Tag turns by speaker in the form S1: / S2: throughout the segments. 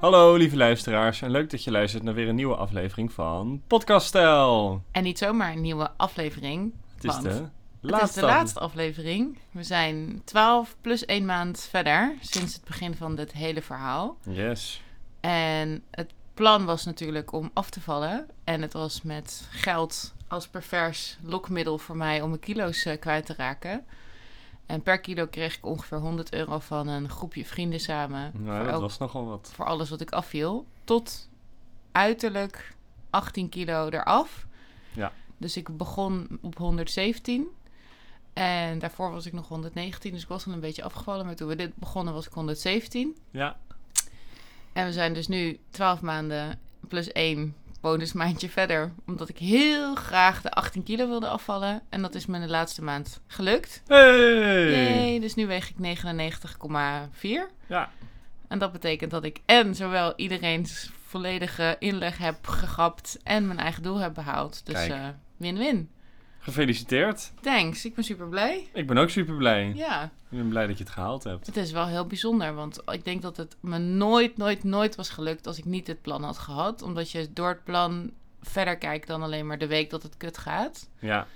S1: Hallo lieve luisteraars en leuk dat je luistert naar weer een nieuwe aflevering van Podcast Stijl.
S2: En niet zomaar een nieuwe aflevering.
S1: Het is
S2: want
S1: de
S2: het is
S1: laatste.
S2: de laatste aflevering. We zijn 12 plus 1 maand verder sinds het begin van dit hele verhaal.
S1: Yes.
S2: En het plan was natuurlijk om af te vallen. En het was met geld als pervers lokmiddel voor mij om mijn kilo's eh, kwijt te raken. En per kilo kreeg ik ongeveer 100 euro van een groepje vrienden samen.
S1: Nou,
S2: voor,
S1: dat
S2: elk-
S1: was nogal wat.
S2: voor alles wat ik afviel. Tot uiterlijk 18 kilo eraf.
S1: Ja.
S2: Dus ik begon op 117. En daarvoor was ik nog 119. Dus ik was al een beetje afgevallen. Maar toen we dit begonnen was ik 117.
S1: Ja,
S2: En we zijn dus nu 12 maanden plus 1 bonusmaandje verder. Omdat ik heel graag de 18 kilo wilde afvallen. En dat is me in de laatste maand gelukt.
S1: Hey!
S2: Yay, dus nu weeg ik 99,4.
S1: Ja,
S2: En dat betekent dat ik en zowel iedereen's volledige inleg heb gegrapt en mijn eigen doel heb behaald. Dus
S1: Kijk.
S2: eh, win-win.
S1: gefeliciteerd.
S2: Thanks, ik ben super blij.
S1: Ik ben ook super blij.
S2: Ja,
S1: Ik ben blij dat je het gehaald hebt.
S2: het is wel heel bijzonder, want ik denk dat het me nooit, nooit, nooit was gelukt als ik niet dit plan had gehad. Omdat je door het plan verder kijkt dan alleen maar de week dat het kut gaat.
S1: Ja,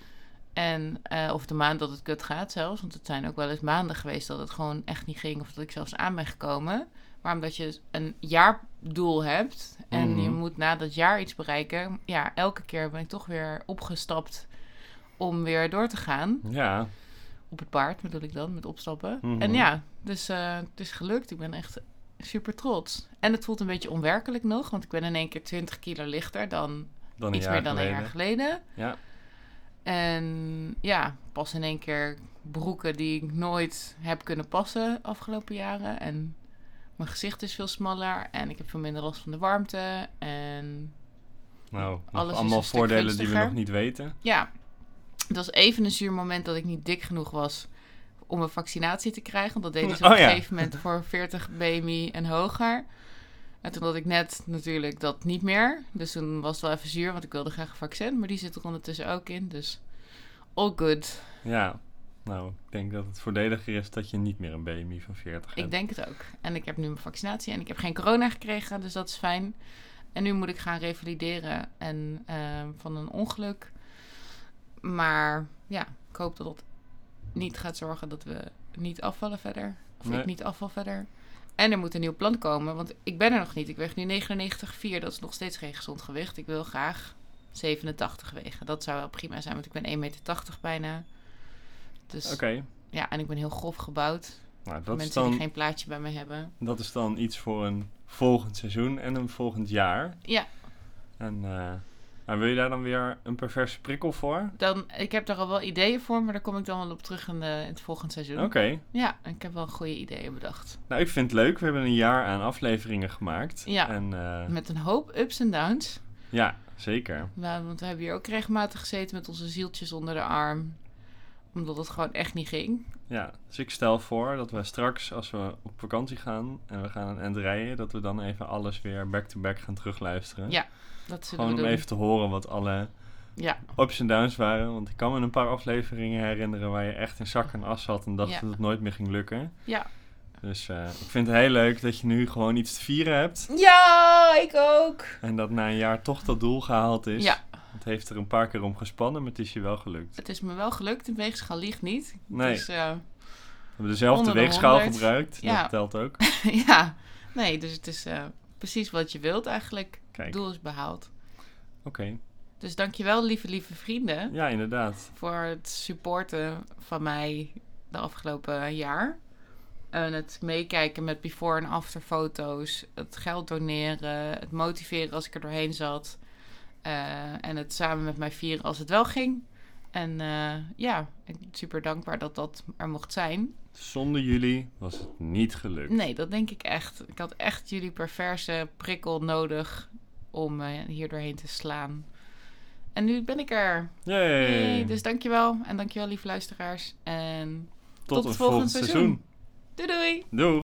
S2: En, eh, of de maand dat het kut gaat zelfs. Want het zijn ook wel eens maanden geweest dat het gewoon echt niet ging. Of dat ik zelfs aan ben gekomen. Maar omdat je een jaardoel hebt. En
S1: Mhm.
S2: je moet na dat jaar iets bereiken. Ja, elke keer ben ik toch weer opgestapt om weer door te gaan.
S1: ja.
S2: Op het paard bedoel ik dan, met opstappen.
S1: Mhm.
S2: En ja, dus eh, het is gelukt. Ik ben echt super trots. En het voelt een beetje onwerkelijk nog. Want ik ben in één keer 20 kilo lichter dan
S1: Dan een
S2: iets
S1: jaar
S2: meer dan
S1: geleden.
S2: een jaar geleden.
S1: Ja,
S2: En ja, pas in één keer broeken die ik nooit heb kunnen passen afgelopen jaren. En mijn gezicht is veel smaller en ik heb veel minder last van de warmte. En
S1: nou, nog
S2: Alles is
S1: allemaal
S2: een stuk
S1: voordelen die we
S2: gunstiger.
S1: nog niet weten.
S2: ja, het was even een zuur moment dat ik niet dik genoeg was om een vaccinatie te krijgen. Want dat deden ze
S1: Oh
S2: op een
S1: ja.
S2: gegeven moment voor 40 BMI en hoger. En toen had ik net natuurlijk dat niet meer. Dus toen was het wel even zuur, want ik wilde graag een vaccin. Maar die zit er ondertussen ook in, dus all good.
S1: Ja, nou, ik denk dat het voordeliger is dat je niet meer een BMI van 40 hebt.
S2: Ik denk het ook. En ik heb nu mijn vaccinatie en ik heb geen corona gekregen, dus dat is fijn. En nu moet ik gaan revalideren en, eh, van een ongeluk. Maar ja, ik hoop dat dat niet gaat zorgen dat we niet afvallen verder. Of
S1: Nee.
S2: ik niet afval verder. En er moet een nieuw plan komen, want ik ben er nog niet. Ik weeg nu 99,4. Dat is nog steeds geen gezond gewicht. Ik wil graag 87 wegen. Dat zou wel prima zijn, want ik ben 1,80 meter bijna. Dus
S1: Oké,
S2: ja, en ik ben heel grof gebouwd.
S1: nou,
S2: Voor
S1: dat is,
S2: mensen die
S1: dan,
S2: geen plaatje bij me hebben.
S1: dat is dan iets voor een volgend seizoen en een volgend jaar.
S2: Ja,
S1: En eh, maar wil je daar dan weer een perverse prikkel voor?
S2: dan, ik heb daar al wel ideeën voor, maar daar kom ik dan wel op terug in, de, in het volgende seizoen.
S1: Oké.
S2: Ja, ik heb wel goede ideeën bedacht.
S1: Nou, ik vind het leuk. We hebben een jaar aan afleveringen gemaakt.
S2: Ja.
S1: En, eh,
S2: Met een hoop ups en downs.
S1: ja, zeker.
S2: Wa- Want we hebben hier ook regelmatig gezeten met onze zieltjes onder de arm. Omdat het gewoon echt niet ging.
S1: Ja, dus ik stel voor dat we straks, als we op vakantie gaan en we gaan een end rijden, dat we dan even alles weer back-to-back gaan terugluisteren.
S2: Ja, dat zullen
S1: Gewoon om
S2: we doen.
S1: even te horen wat alle
S2: Ja,
S1: ups en downs waren. Want ik kan me een paar afleveringen herinneren waar je echt in zak en as zat en dacht
S2: Ja.
S1: dat het nooit meer ging lukken.
S2: ja.
S1: Dus eh, ik vind het heel leuk dat je nu gewoon iets te vieren hebt.
S2: Ja, ik ook.
S1: En dat na een jaar toch dat doel gehaald is.
S2: Ja.
S1: Het heeft er een paar keer om gespannen, maar het is je wel gelukt.
S2: Het is me wel gelukt. De weegschaal liegt niet.
S1: Nee.
S2: Dus eh,
S1: We hebben dezelfde
S2: Onder de
S1: weegschaal
S2: 100.
S1: gebruikt.
S2: Ja.
S1: Dat telt ook.
S2: ja, nee, dus het is eh, precies wat je wilt eigenlijk.
S1: Kijk,
S2: Het
S1: oké.
S2: doel is behaald. Dus dankjewel, lieve, lieve vrienden,
S1: Ja, inderdaad.
S2: voor het supporten van mij de afgelopen jaar. En het meekijken met before- en after foto's, het geld doneren, het motiveren als ik er doorheen zat. eh, en het samen met mij vieren als het wel ging. En eh, ja, ik ben super dankbaar dat dat er mocht zijn.
S1: Zonder jullie was het niet gelukt.
S2: Nee, dat denk ik echt. Ik had echt jullie perverse prikkel nodig om eh, hier doorheen te slaan. En nu ben ik er.
S1: Yay.
S2: Hey, dus dankjewel. En dankjewel, lieve luisteraars. En
S1: tot, het volgende seizoen.
S2: doei doei!
S1: Doei.